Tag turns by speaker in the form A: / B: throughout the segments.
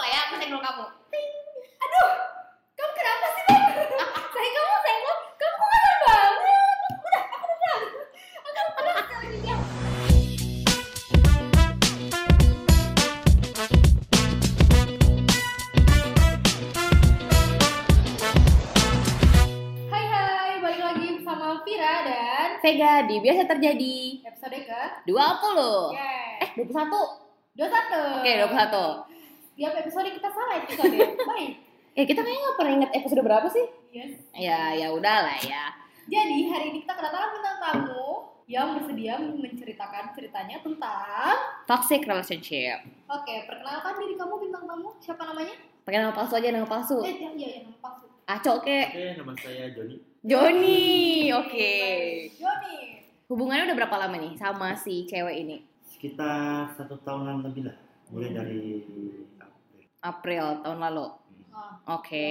A: senggol kamu
B: ting aduh kamu kenapa sih Bang? sayang kamu senggol kamu kok kasar banget udah aku udah pulang aku aku udah lagi ya
A: hai hai balik lagi sama Vira dan
C: Vega di biasa terjadi
A: episode ke
C: 20
A: yeah.
C: eh 21
A: Oh. dua satu
C: oke 21
A: tiap episode kita salah episode baik
C: ya kita kayaknya nggak pernah ingat episode berapa sih
A: yes
C: ya ya udahlah ya
A: jadi hari ini kita kedatangan bintang tamu yang bersedia menceritakan ceritanya tentang
C: toxic relationship
A: oke perkenalkan diri kamu bintang tamu siapa namanya
C: pakai nama palsu aja nama palsu
A: eh ya ya yang palsu
C: Aco kek
D: Oke, nama saya Joni.
C: Joni oke
A: Joni
C: hubungannya udah berapa lama nih sama si cewek ini
D: Sekitar satu tahunan lebih lah, mulai
C: Hmm.
D: dari April.
C: April tahun lalu
A: Ah,
C: oke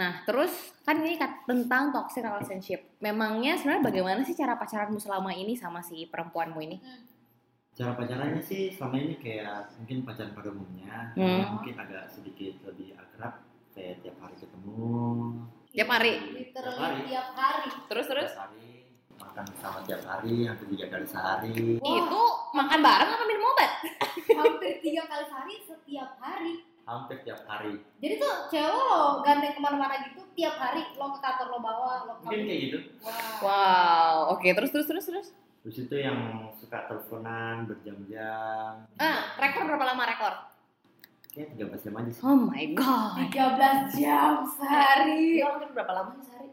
C: Nah, terus kan ini kat- tentang toxic relationship. Memangnya sebenarnya bagaimana sih cara pacaranmu selama ini sama si perempuanmu ini?
D: Cara pacarannya sih selama ini kayak mungkin pacaran pada umumnya,
C: Hmm.
D: hanya mungkin agak sedikit lebih akrab, kayak tiap hari ketemu,
C: Tiap hari.
A: literally tiap hari
C: Terus terus
D: tiap hari makan sama tiap hari, hampir tiga kali sehari.
A: Wah,
C: itu makan bareng apa minum obat?
A: hampir tiga kali sehari setiap hari
D: Hampir tiap hari.
A: Jadi tuh cewek lo gandeng kemana-mana gitu tiap hari lo ke kantor lo bawa lo ke
D: Mungkin kayak gitu.
A: Wah.
C: Wow, oke terus terus terus terus.
D: Terus itu yang suka teleponan berjam-jam.
C: Ah, rekor berapa lama rekor?
D: Kayak 13 jam aja sih.
C: Oh my god.
A: 13 jam sehari.
C: Iya, berapa lama sih sehari?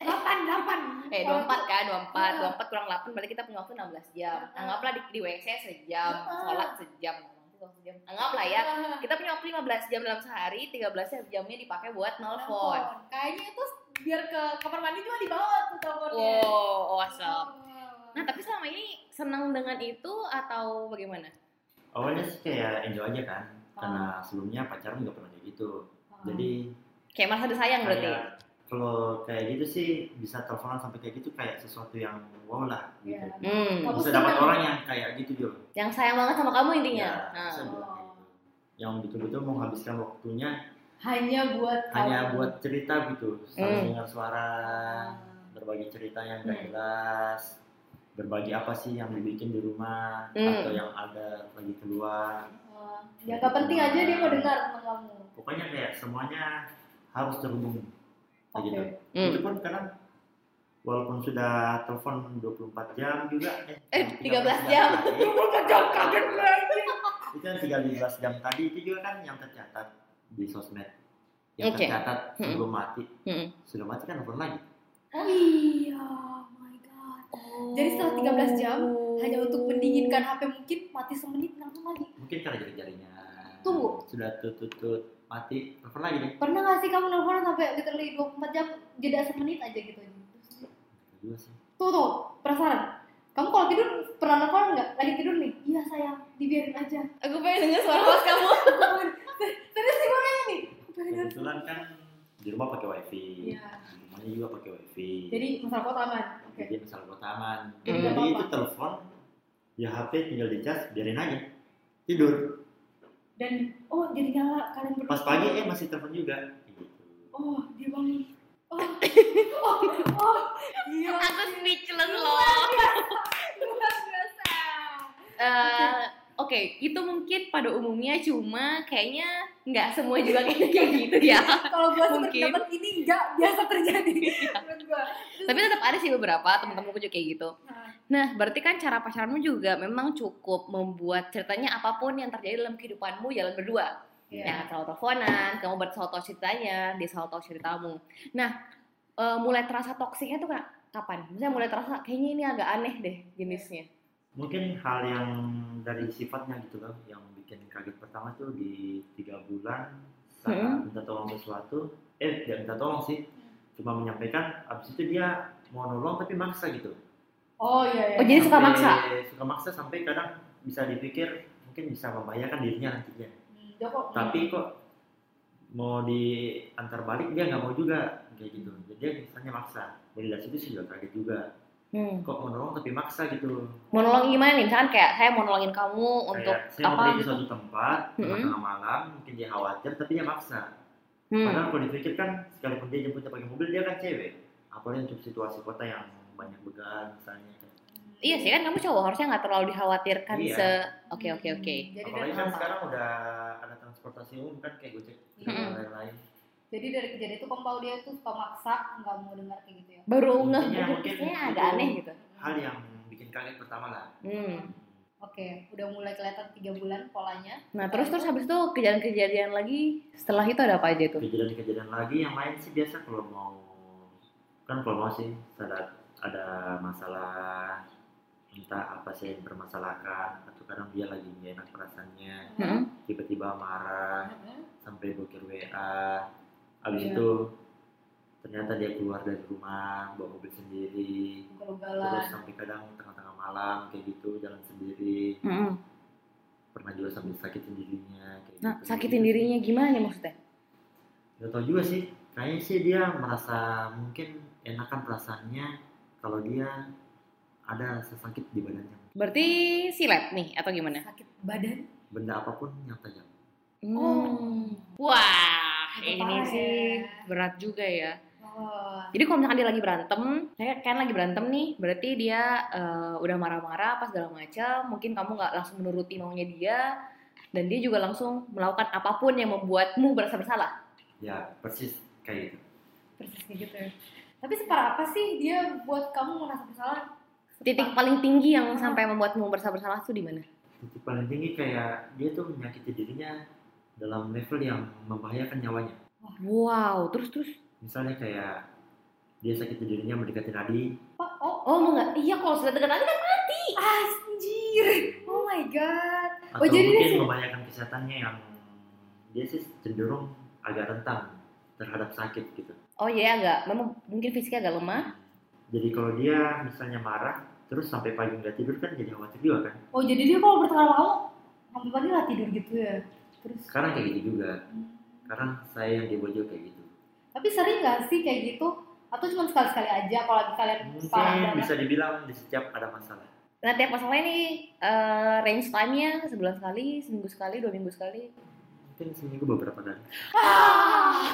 A: 8 8.
C: Eh, 24 kan, 24, 24 kurang 8 berarti kita punya waktu 16 jam. Anggaplah di, di WC sejam,
A: Ah.
C: sholat sejam, ngomong sejam. Anggaplah ya, kita punya waktu 15 jam dalam sehari, 13 jamnya dipakai buat nelpon.
A: Kayaknya itu biar ke kamar mandi juga dibawa tuh teleponnya.
C: Wow, awesome. Nah, tapi selama ini senang dengan itu atau bagaimana?
D: Awalnya sih kayak enjoy aja kan,
C: Oh.
D: karena sebelumnya pacaran nggak pernah kayak gitu.
A: Nah,
D: Jadi
C: Kayak merasa disayang Eh, berarti.
D: Kayak, kalau kayak gitu sih bisa teleponan sampai kayak gitu kayak sesuatu yang wow lah gitu.
A: Iya.
C: Hmm.
A: Kamu
D: Bisa dapat
A: senang.
D: orang yang kayak gitu juga.
C: Yang sayang banget sama kamu intinya.
D: Ya,
C: Nah.
D: bisa bilang kayak gitu. Yang betul-betul menghabiskan waktunya
A: hanya buat
D: hanya
A: kamu.
D: buat cerita gitu,
C: Oh. Hmm.
D: saling dengar suara,
A: Ah.
D: berbagi cerita yang gak
C: Hmm.
D: jelas, berbagi apa sih yang dibikin di rumah
C: Hmm.
D: atau yang ada lagi keluar.
A: Wah. Ya gak penting aja dia mau dengar tentang kamu.
D: Pokoknya kayak semuanya harus terhubung kayak gitu.
C: Hmm.
D: Itu pun kadang walaupun sudah telepon 24 jam juga
C: Eh,
D: yang
C: 13 jam.
D: 13
C: jam,
D: Iya, kaget
C: gue.
D: Itu yang 13 jam tadi itu juga kan yang tercatat di sosmed. Yang
C: Oke.
D: tercatat
A: Hmm.
D: sebelum mati.
C: Mm-mm.
D: Sudah mati kan telepon lagi.
A: Oh iya, my god. Oh. Jadi setelah 13 jam, Hanya untuk mendinginkan HP mungkin mati semenit langsung lagi.
D: Mungkin karena jari-jarinya.
A: Tunggu.
D: Sudah tutut mati telepon lagi deh.
A: Pernah gak sih kamu nelfon sampai literally 24 jam jeda semenit aja gitu?
D: Juga sih.
A: Tuh tuh, penasaran. Kamu kalau tidur pernah nelfon nggak? Lagi tidur nih? Iya sayang, dibiarin aja.
C: Aku pengen denger suara mas kamu.
A: Terus sih gue nanya nih. apa yang harus-
D: Kebetulan kan di rumah pakai wifi.
A: Iya.
D: Di rumahnya juga pakai wifi.
A: Jadi masalah kota aman. kan? Oke.
D: Jadi misal gua taman.
C: Hmm.
D: Jadi
A: Gak
D: itu
A: apa-apa.
D: telepon ya HP tinggal di cas biarin aja tidur
A: Dan oh jadi nyala kalian berdua.
D: pas pagi eh masih telepon juga gitu.
A: Oh dia bangun. Oh, oh, oh, gila.
C: Aku speechless loh.
A: Iya. Luar biasa.
C: Eh, Oke, itu mungkin pada umumnya cuma kayaknya nggak semua juga kayaknya kayak gitu ya.
A: Kalau gua sih
C: Mungkin. Iya.
A: berpendapat ini nggak biasa terjadi. Menurut gua.
C: Tapi tetap ada sih beberapa teman-temanku juga kayak gitu.
A: Nah,
C: Nah, berarti kan cara pacaranmu juga memang cukup membuat ceritanya apapun yang terjadi dalam kehidupanmu jalan berdua.
A: iya.
C: Ya, selalu teleponan, kamu bersalah tahu ceritanya, dia selalu tahu ceritamu. Nah, eh, mulai terasa toksiknya tuh ka- kapan? Misalnya mulai terasa kayaknya ini agak aneh deh jenisnya.
D: mungkin hal yang dari sifatnya gitu loh yang bikin kaget pertama tuh di tiga bulan saat
C: Hmm.
D: minta tolong sesuatu eh tidak minta tolong sih cuma menyampaikan abis itu dia mau nolong tapi maksa gitu
A: Oh iya. iya.
C: Oh, jadi suka
D: Sampai-
C: maksa?
D: suka maksa sampai kadang bisa dipikir mungkin bisa membahayakan dirinya nantinya
A: Hmm, dia
C: Oh.
A: kok-
D: tapi kok mau diantar balik dia nggak mau juga kayak gitu jadi dia misalnya maksa dari situ sih juga kaget juga
C: Hmm.
D: kok menolong tapi maksa gitu
C: Monolong gimana nih? Misalkan kayak saya monolongin kamu untuk
D: kayak saya
C: apa
D: mau pergi ke
C: gitu?
D: suatu tempat di
C: Mm-mm.
D: tengah malam mungkin dia khawatir tapi dia maksa
C: Hmm.
D: Padahal kalau dipikir kan, sekalipun dia jemputnya pakai mobil, dia kan cewek. Apalagi untuk situasi kota yang banyak begal misalnya.
A: Hmm.
C: Iya sih kan kamu cowok harusnya nggak terlalu dikhawatirkan
D: Iya.
C: se. Oke oke oke.
A: Jadi dari,
D: Apalagi kan
C: kenapa?
D: sekarang udah ada transportasi umum kan kayak Gojek
C: Mm-mm.
A: Hmm.
D: dan lain-lain.
A: jadi dari kejadian itu kamu tahu dia tuh suka maksa nggak mau dengar kayak gitu ya.
C: Baru ngeh
D: Intinya
C: gitu,
D: mungkin
C: kayaknya agak
D: itu-
C: aneh gitu.
D: Hal yang bikin kaget pertama lah.
C: Hmm.
A: Oke, udah mulai kelihatan tiga bulan polanya.
C: Nah terus terus habis itu kejadian-kejadian lagi setelah itu ada apa aja tuh?
D: Kejadian-kejadian lagi yang lain sih biasa kalau mau kan kalau mau sih saat ada masalah entah apa sih yang permasalahkan atau kadang dia lagi nggak enak perasaannya
C: Hmm.
D: tiba-tiba marah sampai bokir WA abis
A: Iya.
D: itu ternyata dia keluar dari rumah bawa mobil sendiri terus
A: Gagal-galan.
D: sampai kadang tengah-tengah malam kayak gitu jalan sendiri
C: Hmm.
D: pernah juga sampai sakitin dirinya kayak
C: Nah
D: gitu.
C: sakitin dirinya gimana nih maksudnya?
D: Gak tau juga sih kayaknya sih dia merasa mungkin enakan perasaannya kalau dia ada sesakit di badannya
C: Berarti silet nih atau gimana?
A: Sakit badan.
D: benda apapun yang tajam
C: Hmm. Wah
A: Itu
C: ini
A: parah
C: sih
A: ya.
C: berat juga ya.
A: Wah.
C: Jadi kalau misalkan dia lagi berantem, saya kan lagi berantem nih, berarti dia eh, udah marah-marah pas segala macam, mungkin kamu nggak langsung menuruti maunya dia, dan dia juga langsung melakukan apapun yang membuatmu berasa bersalah.
D: ya persis kayak gitu
A: persis kayak gitu ya. Tapi separah apa sih dia buat kamu merasa bersalah?
C: Titik paling tinggi
A: Iya.
C: yang sampai membuatmu berasa bersalah itu di mana?
D: titik paling tinggi kayak dia tuh menyakiti dirinya dalam level yang membahayakan nyawanya
C: Wow, terus terus.
D: misalnya kayak dia sakit dirinya mendekati nadi
A: Apa? Oh,
C: Oh, mau nggak? Iya, kalau sudah dekat nanti kan.
A: anjir. Oh my god.
D: atau
A: Oh, jadi dia
D: mungkin
A: sih-
D: membahayakan kesehatannya yang dia sih cenderung agak rentan terhadap sakit gitu
C: Oh iya, nggak. Memang mungkin fisiknya agak lemah.
D: jadi kalau dia misalnya marah terus sampai pagi nggak tidur kan jadi khawatir juga kan
A: Oh, jadi dia kalau bertengkar sama kamu sampai pagi nggak tidur gitu ya. Terus
D: sekarang kayak gitu juga
A: Hmm.
D: sekarang saya yang dibojol kayak gitu
A: Tapi sering nggak sih kayak gitu? Atau cuma sekali-sekali aja kalau lagi kalian parah
D: mungkin
A: banget?
D: bisa dibilang di setiap ada masalah
C: Nah, tiap masalah ini eh, range time-nya sebulan sekali, seminggu sekali, dua minggu sekali.
D: mungkin seminggu beberapa kali
A: Ah.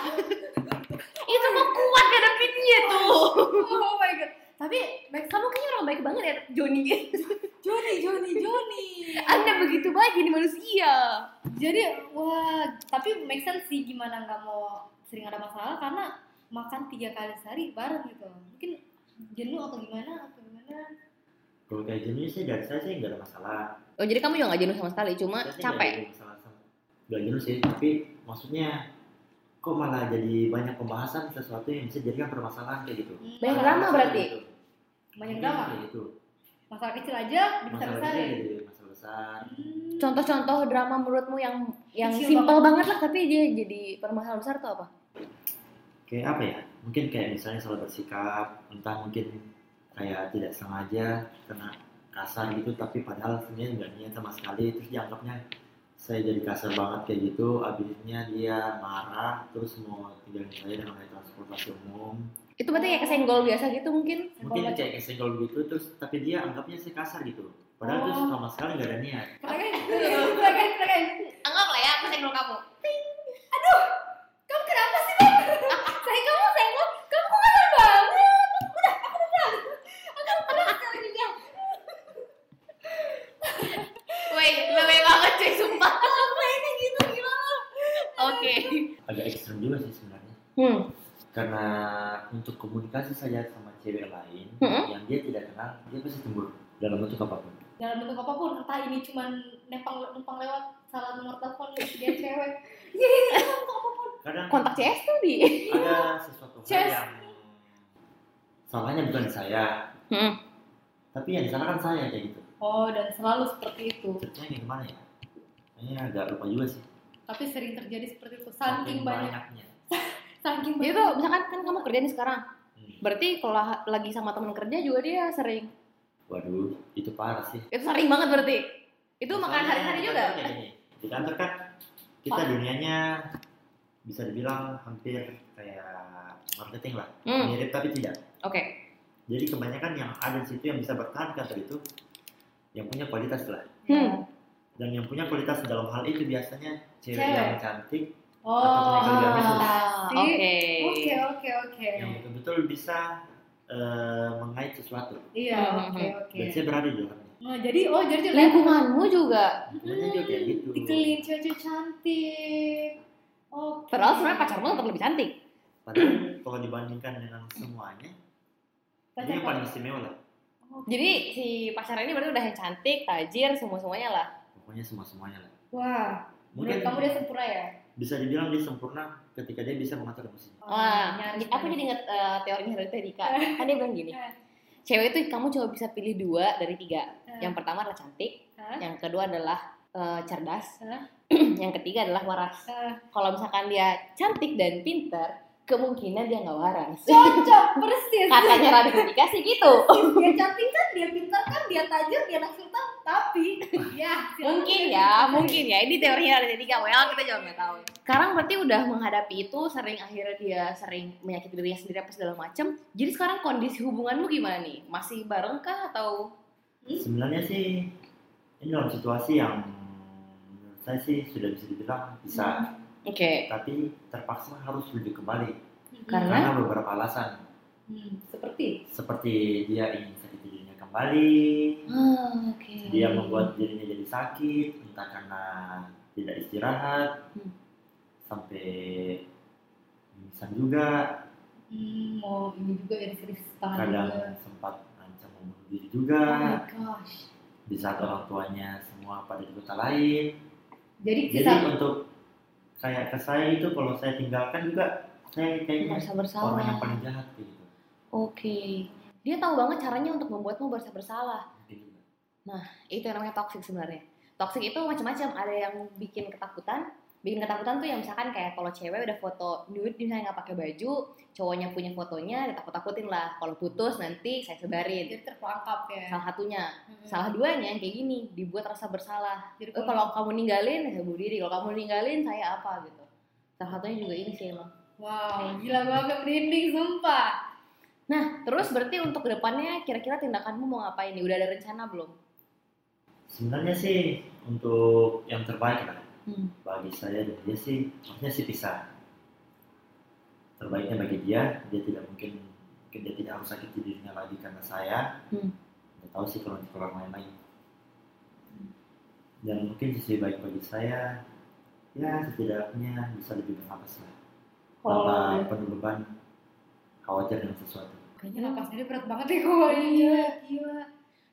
C: Itu kok kuat ngadepinnya tuh.
A: Oh my god. Tapi
C: Baik, kamu kayaknya orang baik banget ya, Joni.
A: Joni, Joni, Joni.
C: Anda begitu baik jadi manusia.
A: Jadi wah, tapi make sense sih gimana nggak mau sering ada masalah karena makan tiga kali sehari bareng gitu. Mungkin jenuh atau gimana atau gimana?
D: kalau kayak gini sih dari saya sih nggak ada masalah
C: Oh, jadi kamu juga gak jenuh sama sekali, cuma
D: Saya sih
C: capek.
D: nggak ada masalah sama- nggak jenuh sih tapi maksudnya kok malah jadi banyak pembahasan sesuatu yang bisa jadikan permasalahan kayak gitu
A: Hmm,
C: Banyak
D: Ada
C: drama
D: masalah
C: berarti?
D: gitu.
A: Banyak
D: Mungkin
A: drama.
D: kayak gitu
A: Masalah kecil aja bisa
D: masalah
A: besar
D: kecil gitu.
A: ya.
D: jadi masalah besar
A: Hmm.
C: Contoh-contoh drama menurutmu yang yang
A: Kecil
C: simpel banget lah, tapi dia jadi permasalahan besar tuh apa?
D: kayak apa ya mungkin kayak misalnya salah bersikap entah mungkin kayak tidak sengaja kena kasar gitu tapi padahal sebenarnya nggak niat sama sekali terus dianggapnya saya jadi kasar banget kayak gitu abisnya dia marah terus mau tinggalin saya dengan naik transportasi umum
C: Itu berarti kayak kesenggol biasa gitu mungkin.
D: mungkin kayak kesenggol gitu terus tapi dia anggapnya saya kasar gitu padahal itu
A: Oh.
D: sama sekali nggak ada niat
A: Keren, keren, keren, keren.
C: Anggap lah ya aku senggol kamu.
A: Kamu kenapa sih, Bang? Saya kamu senggol, kamu kok kasar banget? Udah, aku udah. Aku udah sekali ini ya.
C: Woi, lebih banget cuy, sumpah.
A: Apa ini gitu gimana?
C: Oke.
D: agak ekstrem juga sih sebenarnya
C: Oh, Hmm.
D: karena untuk komunikasi saja sama cewek lain
C: Mm-mm.
D: yang dia tidak kenal dia pasti cemburu dalam bentuk apapun
A: Dalam bentuk apapun, entah ini cuman nempang numpang lewat salah nomor telepon dia cewek. Iya, iya, iya, numpang apapun.
D: kadang
C: Kontak CS tuh di.
D: ada sesuatu hal
A: Chess.
D: yang salahnya bukan di saya
C: Mm.
D: tapi ya, yang disalahkan saya kayak gitu
A: Oh, dan selalu seperti itu.
D: ceritanya kayak gimana ya kayaknya agak lupa juga sih
A: Tapi sering terjadi seperti itu. Saking banyak,
D: banyaknya
A: saking banyak.
C: Itu misalkan kan kamu kerja nih sekarang.
D: Hmm.
C: Berarti kalau ha- lagi sama teman kerja juga dia sering.
D: waduh itu parah sih
C: Itu sering banget berarti. Itu makan
D: Soalnya
C: hari-hari
D: di
C: juga.
D: kantor kayak gitu. gini. Di kantor kan kita dunianya bisa dibilang hampir kayak marketing lah.
C: Hmm.
D: Mirip tapi tidak.
C: Oke.
D: jadi kebanyakan yang ada di situ yang bisa bertahan kantor itu yang punya kualitas lah
C: Hmm.
D: dan yang punya kualitas dalam hal itu biasanya cewek,
A: Cewek.
D: yang cantik
A: Oh,
D: Atau mereka juga
A: ah,
C: Oke.
A: Oke, oke, oke.
D: yang betul-betul bisa eh, mengait sesuatu
A: Iya,
C: Mhm.
A: oke, oke.
D: dan saya kan. berada di dalamnya
A: Nah, jadi oh jadi jadi
C: Lingkunganmu juga.
D: Lingkungannya juga
A: Hmm,
D: kayak gitu.
A: Dikelilingin cewek-cewek cantik. Oke.
C: Padahal sebenarnya pacarmu tetap lebih cantik.
D: padahal kalau dibandingkan dengan semuanya
A: Pacar
D: ini yang
A: kamu.
D: paling istimewa lah
C: Jadi si pacar ini berarti udah yang cantik, tajir, semua semuanya lah.
D: pokoknya semua semuanya lah
A: Wah,
D: mungkin
A: menurut kamu udah sempurna ya?
D: bisa dibilang dia sempurna ketika dia bisa mengatur emosinya
A: Oh,
C: Wah,
A: nyaris
C: aku jadi inget eh, teorinya dari tadi Kak. Kan dia bilang gini, cewek itu kamu cuma bisa pilih dua dari tiga.
A: Eh.
C: Yang pertama adalah cantik,
A: Hah?
C: yang kedua adalah eh, cerdas,
A: Hah?
C: yang ketiga adalah waras.
A: Eh.
C: Kalau misalkan dia cantik dan pinter, kemungkinan dia nggak waras.
A: cocok persis.
C: Katanya Radhitika sih gitu.
A: dia cantik kan, dia pintar kan, dia tajir, dia anak sultan, tapi ya silakan.
C: Mungkin ya, mungkin ya. Ini teorinya Radhitika. Well, ya, kita juga nggak tahu. Sekarang berarti udah menghadapi itu, sering akhirnya dia sering menyakiti dirinya sendiri apa segala macem. Jadi sekarang kondisi hubunganmu gimana nih? Masih bareng kah atau
A: Hmm?
D: sebenarnya sih ini dalam situasi yang menurut saya sih sudah bisa dibilang
A: Hmm,
D: bisa
C: Oke.
D: tapi terpaksa harus rujuk kembali
A: Mhm.
C: Karena?
D: karena beberapa alasan
A: Hmm, seperti
D: seperti dia ingin sakit dirinya kembali
C: Oke.
D: dia membuat dirinya jadi sakit entah karena tidak istirahat
C: Hmm.
D: sampai pingsan juga
A: hmm, mau ini juga ya serius tangan
D: kadang
A: juga.
D: sempat ancam membunuh diri juga
A: Oh my gosh.
D: di saat orang tuanya semua pada di kota lain
A: Jadi
D: jadi
A: kita
D: untuk kayak ke saya itu kalau saya tinggalkan juga saya kayaknya
C: merasa
D: orang
C: bersalah.
D: yang paling jahat kayak gitu
C: Oke. Dia tahu banget caranya untuk membuatmu merasa bersalah.
D: Mungkin juga.
C: Itu yang namanya toxic sebenarnya. Toxic itu macam-macam. Ada yang bikin ketakutan. Bikin ketakutan tuh yang misalkan kayak kalau cewek udah foto nude misalnya nggak pakai baju, cowoknya punya fotonya, ditakut-takutin lah. Kalau putus nanti saya sebarin.
A: jadi terperangkap ya.
C: Salah satunya.
A: Mhm.
C: Salah duanya yang kayak gini, dibuat rasa bersalah.
A: Jadi
C: Eh, kalau kamu ninggalin, saya bunuh diri. Kalau kamu ninggalin, saya apa gitu. Salah satunya juga ini sih emang.
A: wow, gila gua agak merinding sumpah.
C: Nah, terus berarti untuk kedepannya kira-kira tindakanmu mau ngapain nih? Udah ada rencana belum?
D: sebenarnya sih untuk yang terbaik lah
C: Hmm.
D: bagi saya dan dia sih maksudnya sih pisah terbaiknya bagi dia dia tidak mungkin mungkin dia tidak harus sakit dirinya lagi karena saya
C: Hmm.
D: nggak tahu sih kalau untuk orang lain lagi dan mungkin sisi baik bagi saya ya setidaknya bisa lebih bernapas lah
C: Oh,
D: tanpa
C: iya.
D: penuh beban khawatir dengan sesuatu
A: Kayaknya napasnya dia berat banget ya gua. Iya, gila.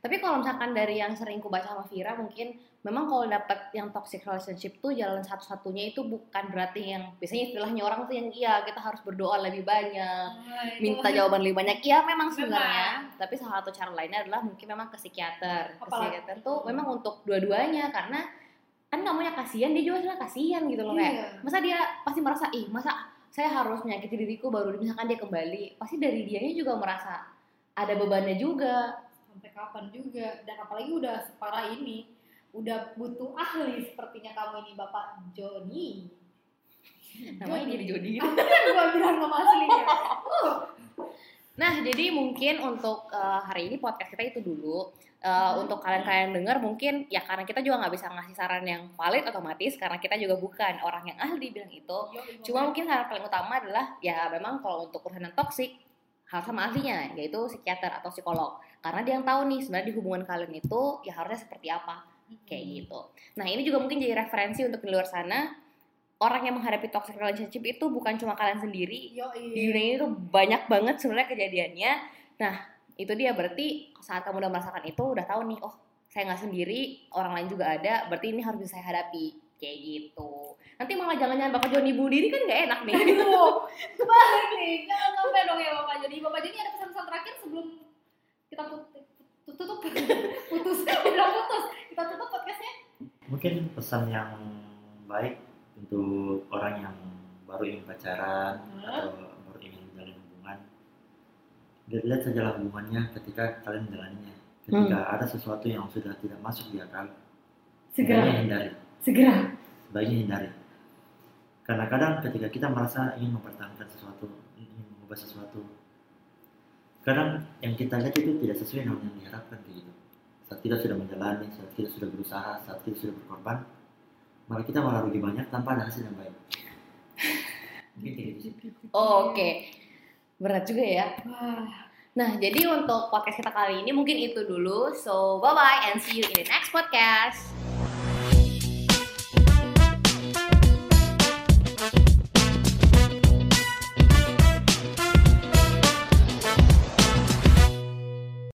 C: Tapi kalau misalkan dari yang sering ku baca sama Vira mungkin memang kalau dapat yang toxic relationship tuh jalan satu-satunya itu bukan berarti yang biasanya istilahnya orang tuh yang iya kita harus berdoa lebih banyak,
A: Wah, itu
C: minta
A: maksudnya-
C: jawaban lebih banyak. Iya memang sebenarnya, tapi salah satu cara lainnya adalah mungkin memang ke psikiater. Ke
A: Apalagi-
C: psikiater tuh memang untuk dua-duanya karena kan kamunya kasihan dia juga sebenarnya kasihan gitu loh kayak
A: Iya.
C: masa dia pasti merasa ih masa saya harus menyakiti diriku baru misalkan dia kembali pasti dari dianya juga merasa ada bebannya juga
A: sampai kapan juga dan apalagi udah separah ini udah butuh ahli sepertinya kamu ini bapak Joni
C: namanya jadi Jody
A: aku kan gua bilang nama aslinya
C: nah jadi mungkin untuk eh, hari ini podcast kita itu dulu Eh, untuk kalian-kalian yang dengar mungkin ya karena kita juga nggak bisa ngasih saran yang valid otomatis karena kita juga bukan orang yang ahli bilang itu Cuma mungkin saran paling utama adalah ya memang kalau untuk urusan yang toksik hal sama ahlinya yaitu psikiater atau psikolog karena dia yang tahu nih sebenarnya di hubungan kalian itu ya harusnya seperti apa kayak
A: Hmm.
C: gitu. Nah ini juga mungkin jadi referensi untuk di luar sana orang yang menghadapi toxic relationship itu bukan cuma kalian sendiri
A: yo
C: di dunia ini tuh banyak banget sebenarnya kejadiannya. Nah itu dia berarti saat kamu udah merasakan itu udah tahu nih oh saya nggak sendiri orang lain juga ada berarti ini harus bisa saya hadapi kayak gitu. Nanti malah jangan-jangan bakal Joni bunuh diri kan nggak enak nih.
A: aduh kebalik nih jangan sampai dong ya bapak Joni bapak Joni ada pesan-pesan terakhir sebelum kita put- tut- tutup putus udah putus kita tutup podcastnya
D: mungkin pesan yang baik untuk orang yang baru ingin pacaran atau baru ingin menjalin hubungan lihat saja hubungannya ketika kalian menjalaninya ketika ada sesuatu yang sudah tidak masuk di akal sebaiknya hindari
A: segera
D: sebaiknya hindari karena kadang ketika kita merasa ingin mempertahankan sesuatu ingin mengubah sesuatu kadang yang kita lihat itu tidak sesuai dengan yang diharapkan kayak gitu saat kita sudah menjalani saat kita sudah berusaha saat kita sudah berkorban malah kita malah rugi banyak tanpa ada hasil yang baik mungkin kayak gitu sih
C: Oh, Oke, berat juga ya.
A: Wah,
C: Nah, jadi untuk podcast kita kali ini mungkin itu dulu. So, bye-bye and see you in the next podcast.